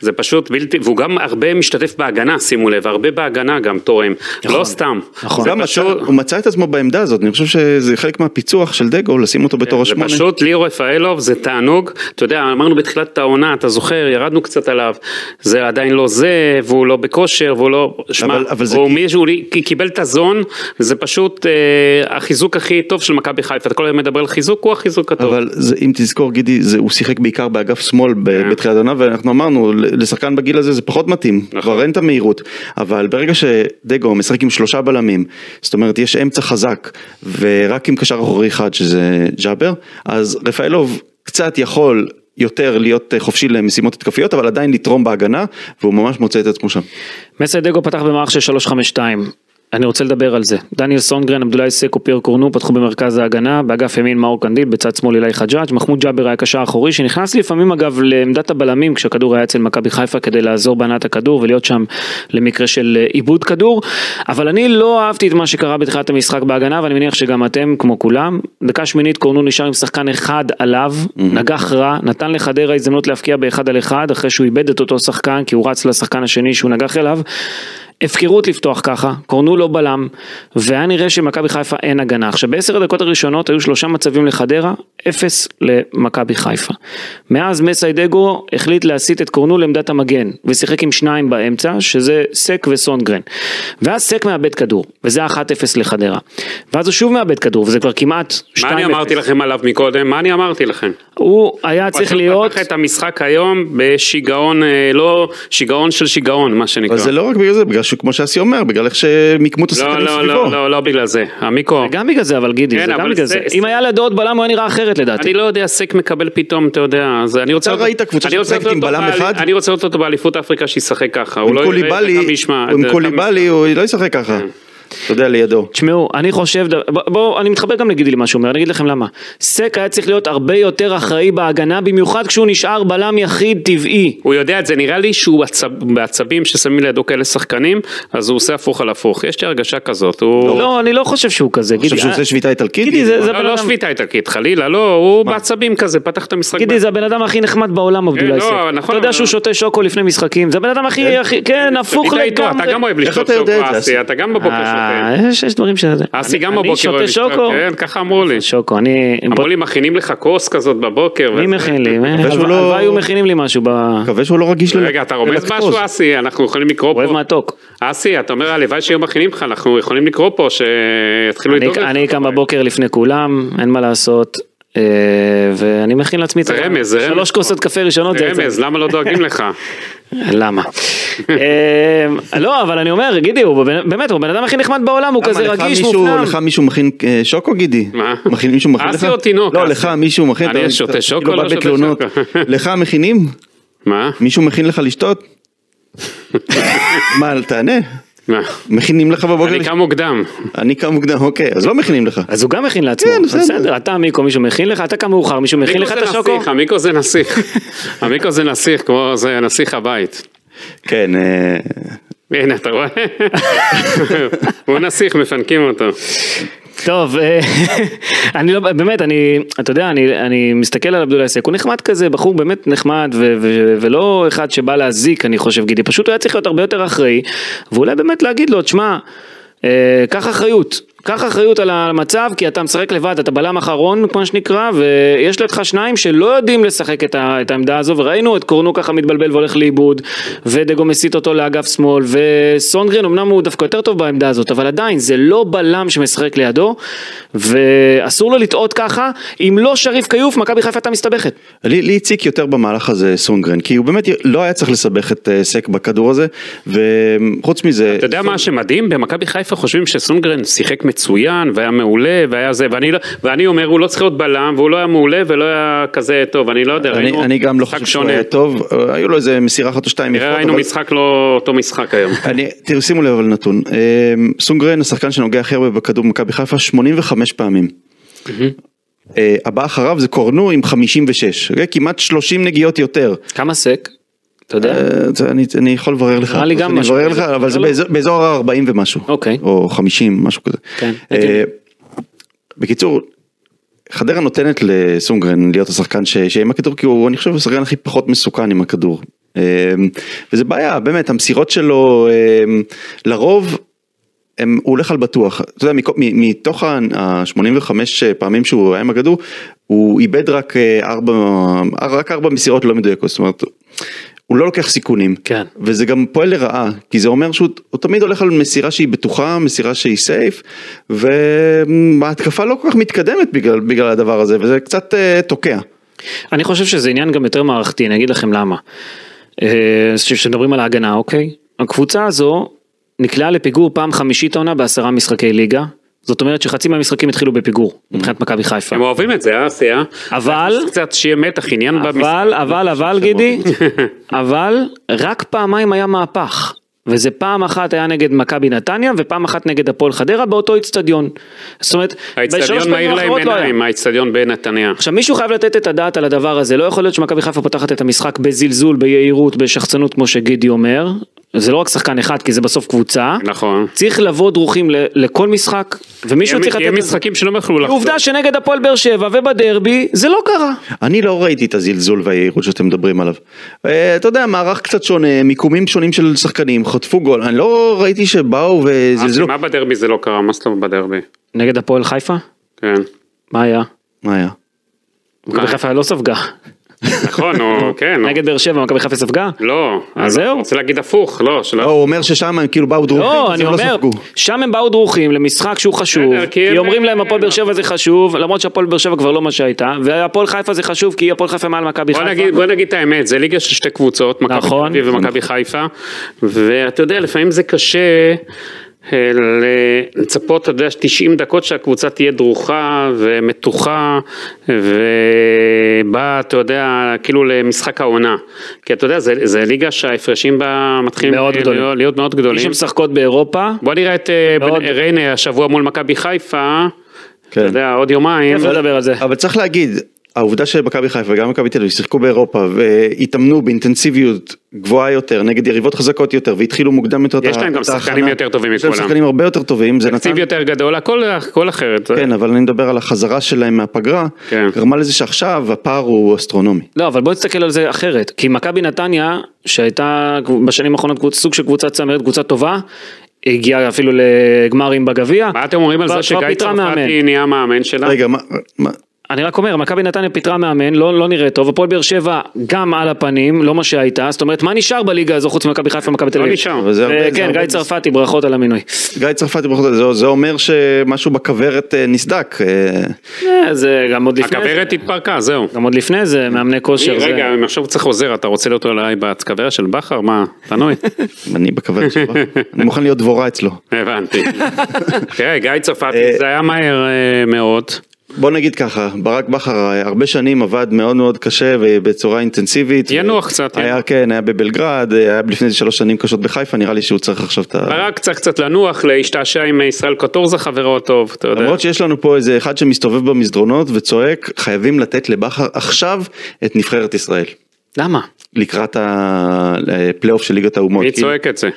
זה פשוט בלתי, והוא גם הרבה משתתף בהגנה, שימו לב, הרבה בהגנה גם תורם, לא סתם. נכון. זה גם מצא, פשוט- הוא מצא את עצמו בעמדה הזאת, אני חושב שזה חלק מהפיצוח של דגו, לשים אותו בתור זה השמונה. פשוט ליאור רפאלוב זה תענוג, אתה יודע אמרנו בתחילת העונה אתה זוכר ירדנו קצת עליו, זה עדיין לא זה והוא לא בכושר והוא לא, שמע, אבל- אבל זה הוא כי- מישהו כי- קיבל את הזון, זה פשוט אה, החיזוק הכי טוב של מכבי חיפה, אתה כל הזמן מדבר על חיזוק, הוא החיזוק הטוב. אבל זה, אם תזכור גידי, זה, הוא שיחק בעיקר באגף שמאל כן. ב- בתחילת העונה, ואנחנו אמרנו, ל- לשחקן בגיל הזה זה פחות מתאים, נכון. כבר אין את המהירות, אבל ברגע שדגו משחק עם שלושה בלמים, זאת אומרת יש אמצע חזק, ורק עם קשר אחורי אחד שזה ג'אבר, אז רפאלוב קצת יכול יותר להיות אה, חופשי למשימות התקפיות, אבל עדיין לתרום בהגנה, והוא ממש מוצא את עצמו שם. מסיידגו פתח במערך של 352. אני רוצה לדבר על זה. דניאל סונגרן, עבדולאי סקו, פייר קורנו פתחו במרכז ההגנה, באגף ימין מאור קנדיל, בצד שמאל אילי חג'אג', מחמוד ג'אבר היה קשר אחורי, שנכנס לפעמים אגב לעמדת הבלמים כשהכדור היה אצל מכבי חיפה כדי לעזור בהנעת הכדור ולהיות שם למקרה של עיבוד כדור. אבל אני לא אהבתי את מה שקרה בתחילת המשחק בהגנה, ואני מניח שגם אתם, כמו כולם. דקה שמינית קורנו נשאר עם שחקן אחד עליו, נגח רע, נתן לחדרה הזדמנות להפקיע באחד על אחד, אחרי שהוא איבד את אותו שחקן, כי הוא רץ לשחקן השני שהוא נגח אליו. הפקרות לפתוח ככה, קורנו לא בלם, והיה נראה שמכבי חיפה אין הגנה. עכשיו בעשר הדקות הראשונות היו שלושה מצבים לחדרה, אפס למכבי חיפה. מאז מסיידגו החליט להסיט את קורנו לעמדת המגן, ושיחק עם שניים באמצע, שזה סק וסונגרן. ואז סק מאבד כדור, וזה 1-0 לחדרה. ואז הוא שוב מאבד כדור, וזה כבר כמעט 2-0. מה אני אמרתי לכם עליו מקודם? מה אני אמרתי לכם? הוא היה צריך פשוט להיות... פתח את המשחק היום בשיגעון, אה, לא, שיגעון של שיגעון, מה שנקרא. אבל זה לא רק בגלל זה, בגלל שכמו שאסי אומר, בגלל איך שמיקמו את לא, השחקנים לא, סביבו. לא, לא, לא בגלל זה. המיקרו, גם בגלל זה אבל גידי, כן, זה גם אבל בגלל זה- זה. אם היה לידו עוד בלם הוא היה נראה אחרת לדעתי. אני לא יודע, סק מקבל פתאום, אתה יודע, אז אני רוצה... אתה ראית קבוצה אני רוצה שמשחקת לראות עם אותו בלם באל- אחד? אני רוצה לראות אותו באליפות אפריקה שישחק ככה, הוא עם לא יראה קוליבאלי, וכמה ישמע. עם אתה- קוליבאלי הוא לא ישחק ככה. אתה יודע, לידו. תשמעו, אני חושב, בואו, בוא, אני מתחבר גם לגידי למה שהוא אומר, אני אגיד לכם למה. סק היה צריך להיות הרבה יותר אחראי בהגנה, במיוחד כשהוא נשאר בלם יחיד טבעי. הוא יודע את זה, נראה לי שהוא בעצב, בעצבים ששמים לידו כאלה שחקנים, אז הוא עושה הפוך על הפוך. יש לי הרגשה כזאת, הוא... לא, אני לא חושב שהוא כזה, גידי. חושב שהוא עושה שביתה איטלקית? גידי, זה- זה לא, בן לא אדם- שביתה איטלקית, חלילה, לא, הוא בעצבים כזה, פתח את המשחק. גידי זה הבן אדם הכי נחמד בעולם, עבדולאי לא, סק. אתה נכון, יודע אבל- אה, שהוא שותה שוקו לפני משחקים, זה הבן אדם הכי, הכי- כן, הפוך שביתה איתו, אתה גם לגמרי. אוהב איך לשתות אתה יודע את זה, אסי, אסי? אתה גם בבוקר שותה. אה, יש יש דברים ש... אסי אני- גם בבוקר אוהב אני שותה שוקו. כן, ככה אמרו לי. שוקו, אני... אמרו לי, מכינים לך כוס כזאת בבוקר. מי וזה- מכין לי? אה, שהוא הלוואי לא- הלוואי היו מכינים לי משהו ב... מקווה שהוא לא רגיש רגע, אתה רומז משהו, אסי? אנחנו יכולים לקרוא אוהב פה. מתוק. אסי, אתה אומר, הלוואי שהיו מכינים לך, אנחנו יכולים לקרוא פה שיתחילו אני- לדאוג לא לך. אני קם בבוקר לפני כולם, אין מה לעשות, אה, ואני מכין לעצמי את זה ה- רמז, זה רמז. שלוש כוסות קפה ראשונות. זה יצא. רמז, למה לא דואגים <laughs> לך? למה? אה, לא, אבל אני אומר, גידי, הוא בן- באמת, הוא הבן אדם הכי נחמד בעולם, הוא כזה רגיש, מופנם. לך מישהו מכין אה, שוקו גידי? מה? מכין מישהו מכין לך? אסי או תינוק, לא, אסי? לך מישהו מכין. אני אתה- שותה אתה- שוקו, כאילו לא בא שותה בתלונות. שוקו. <laughs> לך מכינים? מה? מישהו מכין לך <laughs> לשתות? מה, תענה. מה? אוקיי, מכינים לך בבוקר? אני לש- קם מוקדם. אני קם מוקדם, אוקיי, אז לא מכינים לך. אז הוא גם מכין לעצמו. כן, בסדר. בסדר, אתה עמיקו, מישהו מכין לך, אתה קם מאוחר, מישהו מכין לך את השוקו? המיקרו זה <laughs> נסיך, המיקרו זה נסיך, כמו זה נסיך הבית. כן, אה, הנה, <laughs> אתה רואה? הוא נסיך, מפנקים אותו. טוב, אה, <laughs> אני לא, באמת, אני, אתה יודע, אני, אני מסתכל על עבדולאי סק, הוא נחמד כזה, בחור באמת נחמד, ו, ו, ולא אחד שבא להזיק, אני חושב, גידי, פשוט הוא היה צריך להיות הרבה יותר אחראי, ואולי באמת להגיד לו, תשמע, אה, קח אחריות. קח אחריות על המצב, כי אתה משחק לבד, אתה בלם אחרון, כמו שנקרא, ויש לך שניים שלא יודעים לשחק את, ה, את העמדה הזו, וראינו את קורנו ככה מתבלבל והולך לאיבוד, ודגו מסיט אותו לאגף שמאל, וסונגרן אמנם הוא דווקא יותר טוב בעמדה הזאת, אבל עדיין זה לא בלם שמשחק לידו, ואסור לו לטעות ככה, אם לא שריף כיוף, מכבי חיפה הייתה מסתבכת. לי, לי הציק יותר במהלך הזה סונגרן, כי הוא באמת לא היה צריך לסבך את אה, סק בכדור הזה, וחוץ מזה... אתה יודע מה שמדהים? במכבי חיפה חושבים שסונגרן שיחק מצוין, והיה מעולה, והיה זה, ואני לא- ואני אומר, הוא לא צריך להיות בלם, והוא לא היה מעולה, ולא היה כזה טוב, אני לא יודע, אני, ראינו אני גם לא משחק חושב שהוא שונה. היה טוב, אה, היו לו איזה מסירה אחת או שתיים נראה, ראינו משחק לא אותו משחק היום. אני, תראו, שימו לב על נתון, אה, סונגרן השחקן שנוגע הכי הרבה בכדור במכבי חיפה 85 פעמים. אה, הבא אחריו זה קורנו עם 56, אוקיי? כמעט 30 נגיעות יותר. כמה סק? אתה יודע? אה, זה- אני, אני יכול לברר לך, נראה לי גם אני משהו. אברר לך, אבל זה לא, לא. באזור- באזור ה-40 ומשהו, אוקיי. או 50, משהו כזה. כן, אה, הגיוני. בקיצור, חדרה נותנת לסונגרן להיות השחקן ש- שיהיה עם הכדור, כי הוא, אני חושב, השחקן הכי פחות מסוכן עם הכדור. אה, וזה בעיה, באמת, המסירות שלו, אה, לרוב, הם, הוא הולך על בטוח, אתה יודע, מכו- מ- מתוך ה-85 אה, פעמים שהוא היה עם הכדור, הוא איבד רק אה, ארבע, רק ארבע מסירות לא מדויקות, זאת אומרת, הוא לא לוקח סיכונים, כן. וזה גם פועל לרעה, כי זה אומר שהוא הוא תמיד הולך על מסירה שהיא בטוחה, מסירה שהיא סייף, וההתקפה לא כל כך מתקדמת בגלל, בגלל הדבר הזה, וזה קצת אה, תוקע. אני חושב שזה עניין גם יותר מערכתי, אני אגיד לכם למה. אה, ש- כשמדברים על ההגנה, אוקיי? הקבוצה הזו נקלעה לפיגור פעם חמישית העונה בעשרה משחקי ליגה. זאת אומרת שחצי מהמשחקים התחילו בפיגור, מבחינת מכבי חיפה. הם אוהבים את זה, אה, אסי, אה? אבל- קצת שיהיה מתח, עניין <laughs> במשחק. אבל, אבל, אבל, גידי, <laughs> אבל רק פעמיים היה מהפך. וזה פעם אחת היה נגד מכבי נתניה ופעם אחת נגד הפועל חדרה באותו איצטדיון. זאת אומרת, בשלוש האיצטדיון פעמים מאיר להם האחרות לא היה. עיניים, האיצטדיון בנתניה. עכשיו מישהו חייב לתת את הדעת על הדבר הזה, לא יכול להיות שמכבי חיפה פותחת את המשחק בזלזול, ביהירות, בשחצנות כמו שגידי אומר, זה לא רק שחקן אחד כי זה בסוף קבוצה, נכון. צריך לבוא דרוכים ל- לכל משחק, ומישהו צריך לתת... יהיה את זה. משחקים שלא יכלו לחזור. עובדה שנגד הפועל באר שבע ובדרבי זה לא קרה. אני לא ראיתי את הזלזול והיהירות שאתם מדברים עליו. אה, אתה יודע, מערך קצת שונה, מיקומים שונים של שחקנים, חטפו גול, אני לא ראיתי שבאו וזלזלו. אה, מה בדרבי זה לא קרה? מה זאת אומרת בדרבי? נגד הפועל חיפה? כן. מה היה? מה היה? מכבי חיפה לא ספגה. נכון, או כן. או- נגד באר שבע מכבי חיפה ספגה? לא. אז אני זהו. רוצה להגיד הפוך, לא. שלא- לא, הוא אומר ששם הם כאילו באו דרוכים, לא, אז אני הם אומר, ספגו. שם הם באו דרוכים למשחק שהוא חשוב, בסדר, כי כי הם- אומרים להם הפועל באר שבע זה חשוב, למרות שהפועל באר שבע כבר לא מה שהייתה, והפועל חיפה זה חשוב כי הפועל חיפה מעל מכבי בוא חיפה. נגיד, בוא נגיד את האמת, זה ליגה של שתי קבוצות, מכבי נכון. תל אביב ומכבי חיפה, ואתה יודע, לפעמים זה קשה אה, ל- לצפות, אתה יודע, 90 דקות שהקבוצה תהיה דרוכה ומתוחה ובאה, אתה יודע, כאילו למשחק העונה. כי אתה יודע, זה, זה ליגה שההפרשים בה מתחילים כאילו מאוד להיות, גדולים. להיות מאוד מי גדולים. שמשחקות באירופה, בוא נראה את אה, בן- מאוד. ריינה השבוע מול מכבי חיפה, כן. אתה יודע, עוד יומיים. לא נדבר על זה. אבל צריך להגיד, העובדה שמכבי חיפה וגם מכבי תל אביב שיחקו באירופה והתאמנו באינטנסיביות גבוהה יותר נגד יריבות חזקות יותר והתחילו מוקדם יותר את יש ה- להם גם את ההכנה. שחקנים יותר טובים יש להם מכולם. שחקנים הרבה יותר טובים, זה נתן... תקציב יותר גדול, הכל, הכל אחרת. כן, אבל אני מדבר על החזרה שלהם מהפגרה, כן. גרמה לזה שעכשיו הפער הוא אסטרונומי. לא, אבל בוא נסתכל על זה אחרת. כי מכבי נתניה, שהייתה בשנים האחרונות קבוצ- סוג של קבוצה צמרת, קבוצה טובה, הגיעה אפילו לגמרים בגביע. מה אתם אומרים על כבר- זה כבר שגיא פיטרה מאמן. צרפתי נהיה מאמן שלה? רגע, מה- מה- אני רק אומר, מכבי נתניה פיטרה מאמן, לא, לא נראה טוב, הפועל באר שבע גם על הפנים, לא מה שהייתה, זאת אומרת, מה נשאר בליגה הזו חוץ ממכבי חיפה ומכבי תל לא אביב? נשאר. אבל זה הרבה- אה, זה כן, הרבה גיא בז- צרפתי, ברכות על המינוי. גיא צרפתי בכל זאת, זה- זה אומר שמשהו בכוורת אה, נסדק. אה, אה, זה גם עוד לפני זה, הכוורת התפרקה, זהו. גם עוד לפני זה, מאמני כושר. זה- רגע, אם עכשיו צריך עוזר, אתה רוצה להיות אולי בכוורת של בכר? מה, תנוי? אני בכוורת <laughs> שלו, אני מוכן להיות דבורה אצלו. הבנתי. תראה, גיא צרפתי, זה היה מהר אה, מאוד. בוא נגיד ככה, ברק בכר אה, הרבה שנים עבד מאוד מאוד קשה ובצורה אינטנסיבית. ינוח קצת, אה? היה, ינוח. כן, היה בבלגרד, אה, היה לפני זה שלוש שנים קשות בחיפה, נראה לי שהוא צריך עכשיו את ה... ברק צריך קצת לנוח, להשתעשע עם ישראל קוטורזה, חברו הטוב, אתה יודע. למרות שיש לנו פה איזה אחד שמסתובב במסדרונות וצועק, חייבים לתת לבכר עכשיו את נבחרת ישראל. למה? לקראת הפלייאוף של ליגת האומות. מי כי- צועק את זה?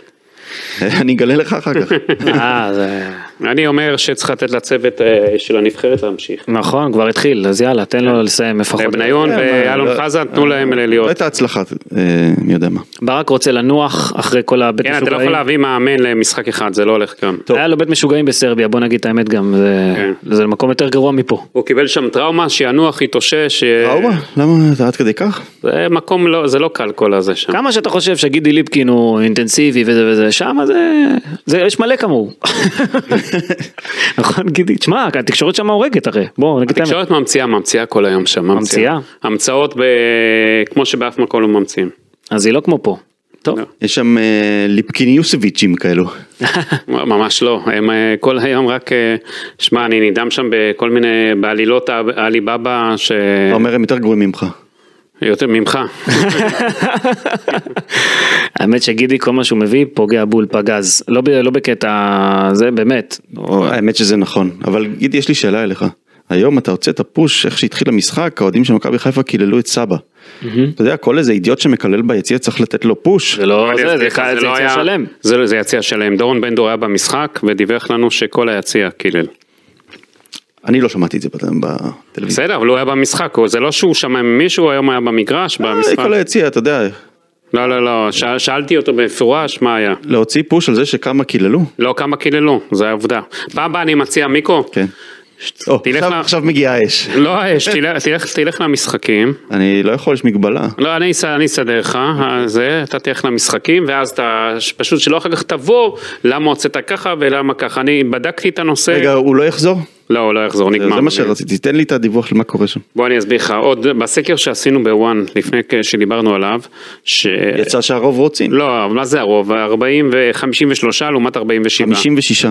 <laughs> אני אגלה לך אחר כך. <laughs> אה, זה... אני אומר שצריך לתת לצוות אה, של הנבחרת להמשיך. נכון, כבר התחיל, אז יאללה, תן לו לסיים לפחות. כן. כן. בניון ואלון לא- חזן, תנו להם אה, לא להיות. הייתה הצלחה, אה, מי יודע מה. ברק רוצה לנוח אחרי כל הבית כן, אתה לא יכול משוגעים. להביא מאמן למשחק אחד, זה לא הולך גם. טוב. היה לו בית משוגעים בסרביה, בוא נגיד את האמת גם, זה- כן. זה מקום יותר גרוע מפה. הוא קיבל שם טראומה, שינוח, יתאושש. אה, טראומה? למה אתה עד כדי כך? זה מקום לא, זה לא קל כל הזה שם. כמה שאתה חושב שגידי ליפקין הוא אינטנסיבי וזה וזה, שם זה, זה יש מלא <laughs> כמוהו. נכון גידי, תשמע, התקשורת שם הורגת הרי, בוא נגיד את האמת. התקשורת ממציאה, ממציאה כל היום שם, ממציאה. ממציאה? המצאות ב... כמו שבאף מקום לא ממציאים. <laughs> אז היא לא כמו פה. טוב, לא. יש שם אה, ליפקיניוסביצ'ים כאלו. ממש לא, הם אה, כל היום רק, אה, שמע, אני נדהם שם בכל מיני, בעלילות ה- העליבאבא, ש... אתה אומר הם יותר גרועים ממך. יותר <laughs> ממך. <laughs> האמת שגידי כל מה שהוא מביא פוגע בול פגז, לא, ב, לא בקטע זה באמת, האמת שזה נכון, אבל גידי יש לי שאלה אליך. היום אתה הוצאת פוש, איך שהתחיל המשחק, האוהדים של מכבי חיפה קיללו את סבא. אתה יודע, כל איזה אידיוט שמקלל ביציע צריך לתת לו פוש. זה לא אני זה, אסביר זה לך, אחד- זה לא יציע היה- שלם. זה לא- זה יציע שלם, דורון בן דור היה במשחק ודיווח לנו שכל היציע קילל. אני לא שמעתי את זה בת- בטלוויזיה. בסדר, אבל הוא היה במשחק, הוא- זה לא שהוא שמע מישהו, היום היה במגרש, אה, במשחק. כל היציע, אתה יודע, לא, לא, לא, שאל- שאלתי אותו במפורש מה היה. להוציא פוש על זה שכמה קיללו. לא, כמה קיללו, זה העובדה. פעם הבאה אני מציע, מיקו, כן. או, תלך עכשיו- ל- עכשיו מגיעה האש. לא האש, תלך- תלך- תלך למשחקים. אני לא יכול, יש מגבלה. לא, אני אס- אני אסדר לך, אה, זה, אתה תלך למשחקים, ואז אתה, פשוט שלא אחר כך תבוא, למה הוצאת ככה ולמה ככה. אני בדקתי את הנושא. רגע, הוא לא יחזור? לא, הוא לא יחזור, נגמר. זה מה שרציתי, תן לי את הדיווח למה קורה שם. בוא אני אסביר לך, עוד בסקר שעשינו בוואן, לפני כ- שדיברנו עליו, ש... יצא שהרוב רוצים. לא, אבל מה זה הרוב? 40 ו-53 לעומת 47. 56.